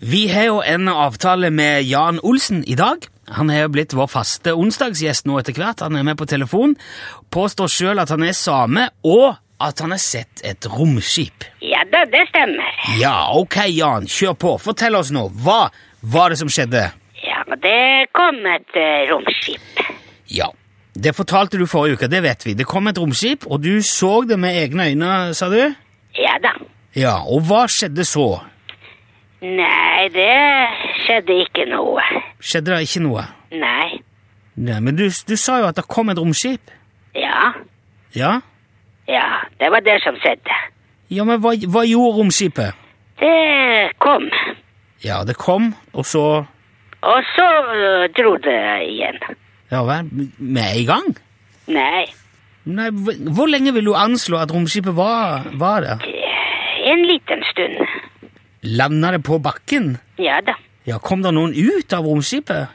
Vi har jo en avtale med Jan Olsen i dag. Han er jo blitt vår faste onsdagsgjest nå etter hvert. Han er med på telefon. Påstår sjøl at han er same, og at han har sett et romskip. Ja da, det stemmer. Ja, ok, Jan, kjør på. Fortell oss nå. Hva var det som skjedde? Ja, det kom et eh, romskip. Ja, det fortalte du forrige uke, det vet vi. Det kom et romskip, og du så det med egne øyne, sa du? Ja da. Ja, og hva skjedde så? Nei, det skjedde ikke noe. Skjedde det ikke noe? Nei. Nei, men du, du sa jo at det kom et romskip. Ja. Ja? Ja, det var det som skjedde. Ja, men hva, hva gjorde romskipet? Det kom. Ja, det kom, og så Og så eh, dro det igjen. Ja vel, med en gang? Nei. Nei, hvor hvor lenge vil du anslå at romskipet var, var der? En liten stund. Landa det på bakken? Ja da. Ja, kom det noen ut av romskipet?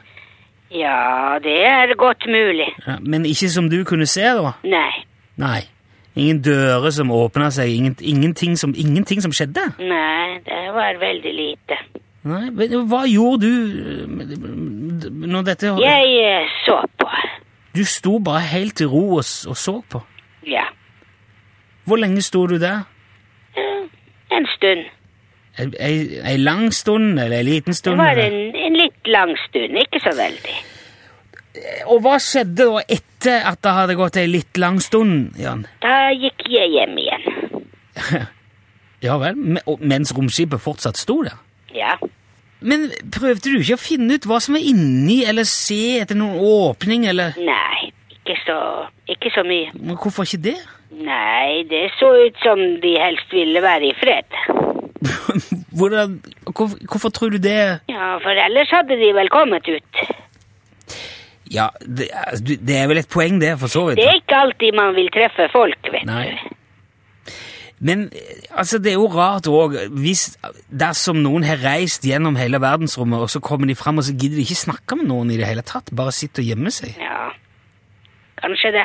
Ja, det er godt mulig. Ja, men ikke som du kunne se, da? Nei. Nei. Ingen dører som åpna seg, ingen, ingenting, som, ingenting som skjedde? Nei, det var veldig lite. Nei, men Hva gjorde du eh, når dette Jeg eh, så på. Du sto bare helt i ro og, s- og så på. Ja. Hvor lenge sto du der? Eh, En stund. Ei, ei, ei lang stund, eller ei liten Det stund? var eller? en, en litt lang stund, ikke så veldig. Og hva skjedde da etter at det hadde gått ei litt lang stund, Jan? Da gikk jeg hjem igjen. Ja vel, me- og mens romskipet fortsatt sto der? Ja. Men prøvde du ikke å finne ut hva som var inni, eller se etter noen åpning, eller Nei, ikke så, ikke så mye. Men Hvorfor ikke det? Nei, det så ut som de helst ville være i fred. Hvordan, hvorfor, hvorfor tror du det Ja, for ellers hadde de vel kommet ut. Ja, det, er- du- det er vel et poeng, det, for så vidt. Det er ikke alltid man vil treffe folk, vet Nei. du. Men eh, altså, det er jo rart òg hvis Dersom noen har reist gjennom hele verdensrommet, og så kommer de fram og så gidder de ikke snakke med noen i det hele tatt, bare sitter og gjemmer seg. Ja, kanskje det.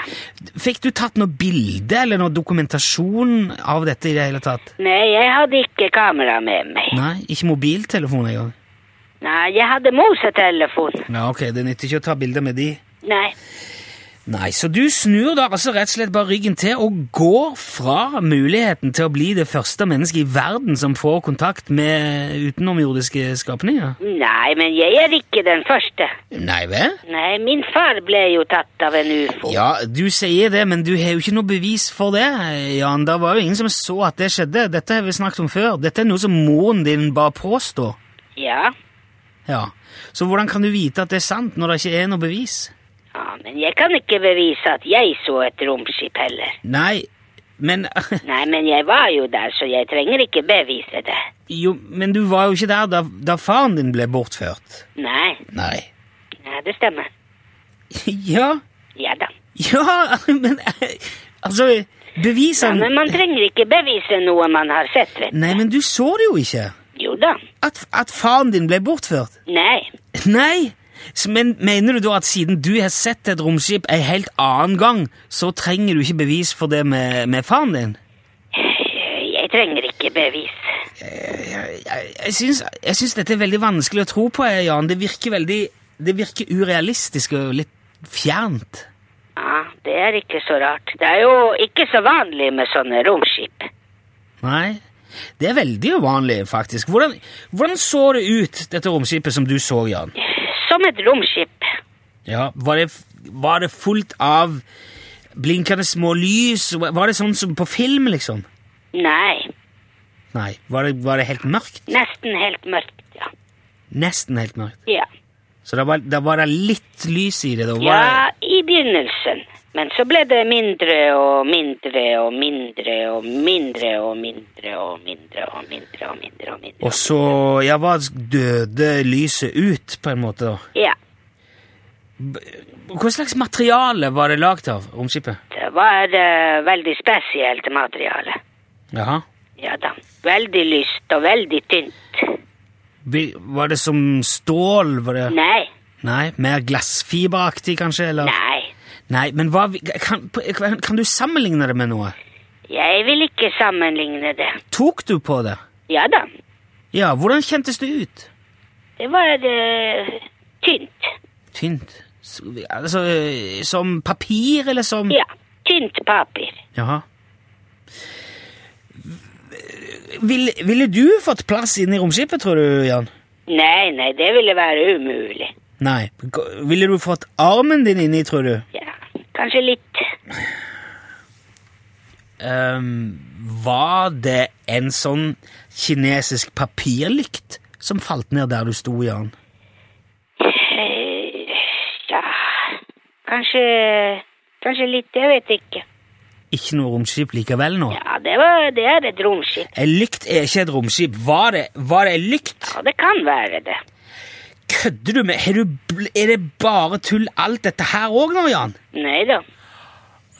Fikk du tatt noe bilde eller noe dokumentasjon av dette i det hele tatt? Nei, jeg hadde ikke kamera med meg. Nei, ikke mobiltelefon engang? Nei, jeg hadde mosetelefon. Ja, ok, det nytter ikke å ta bilder med de. Nei. Nei, så du snur da altså rett og slett bare ryggen til og går fra muligheten til å bli det første mennesket i verden som får kontakt med utenomjordiske skapninger? Nei, men jeg er ikke den første. Nei vel? Nei, min far ble jo tatt av en ufo. Ja, du sier det, men du har jo ikke noe bevis for det, Jan. Det var jo ingen som så at det skjedde. Dette har vi snakket om før. Dette er noe som moren din bare påstår. Ja. Ja. Så hvordan kan du vite at det er sant når det ikke er noe bevis? Ja, men jeg kan ikke bevise at jeg så et romskip heller. Nei, men Nei, men jeg var jo der, så jeg trenger ikke bevise det. Jo, men du var jo ikke der da, da faren din ble bortført. Nei, Nei. nei, det stemmer. Ja, Ja da. ja, men Altså, Ja, bevisene men man trenger ikke bevise noe man har sett, vet du. Nei, men du så det jo ikke. Jo da. At, at faren din ble bortført. Nei. Nei, S- men mener du da at siden du har sett et romskip en helt annen gang, så trenger du ikke bevis for det med, med faren din? eh, Jeg trenger ikke bevis. Eh, Jeg, jeg, syns, jeg syns dette er veldig vanskelig å tro på, eh, Jan. Det virker veldig Det virker urealistisk og litt fjernt. Ja, det er ikke så rart. Det er jo ikke så vanlig med sånne romskip. Nei. Det er veldig uvanlig, faktisk. Hvordan, hvordan så det ut, dette romskipet som du så, Jan? Som et romskip. Ja, Var det, var det fullt av blinkende små lys? Var det sånn som på film, liksom? Nei, Nei. Var det, var det helt mørkt? nesten helt mørkt, ja. Nesten helt mørkt. Ja. Så da var, da var det litt lys i det? Da var Ja, i begynnelsen. Men så ble det mindre og mindre og mindre og mindre og mindre og mindre og mindre og mindre. og det, mindre. og så ja, var døde lyset ut, på en måte? da. Ja, Hva slags materiale var det lagd av romskipet? det var eh, veldig spesielt materiale. Jaha. Ja da. Veldig lyst og veldig tynt. Vi- Var det som stål? Var det Nei, Nei, Mer glassfiberaktig, kanskje? eller? nei. Nei, Men hva vi- kan, kan kan du sammenligne det med noe? Jeg vil ikke sammenligne det. Tok du på det? Ja da. Ja, hvordan kjentes det ut? Det var eh, tynt. Tynt. S- Altså, eh, som papir, eller som Ja, tynt papir. Jaha. Vil, ville du fått plass inne i romskipet, tror du, Jan? Nei, nei, det ville være umulig. Nei. G- Ville du fått armen din inni, tror du? Ja, kanskje litt. Ehm, var det en sånn kinesisk papirlykt som falt ned der du sto, Jan? Eh, ja, kanskje, kanskje litt, jeg vet ikke. Ikke noe romskip likevel nå? Ja, det, var, det er et romskip. En lykt er ikke et romskip. Var det, var det en lykt? Ja, det kan være det. Kødder du med? Er, du, bl- er det bare tull alt dette her òg nå, Jan? Nei da.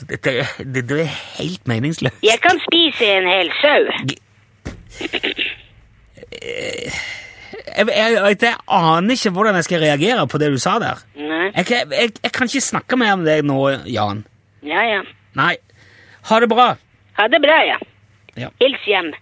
Dette, er- dette er helt meningsløst. Jeg kan spise en hel sau. Jeg, jeg, jeg, jeg aner ikke hvordan jeg skal reagere på det du sa der. Nei. Jeg, kan- jeg, jeg kan ikke snakke mer om det nå, Jan. Ja, ja. Nei. Ha det bra. Ha det bra, ja. Ja. Hils hjem.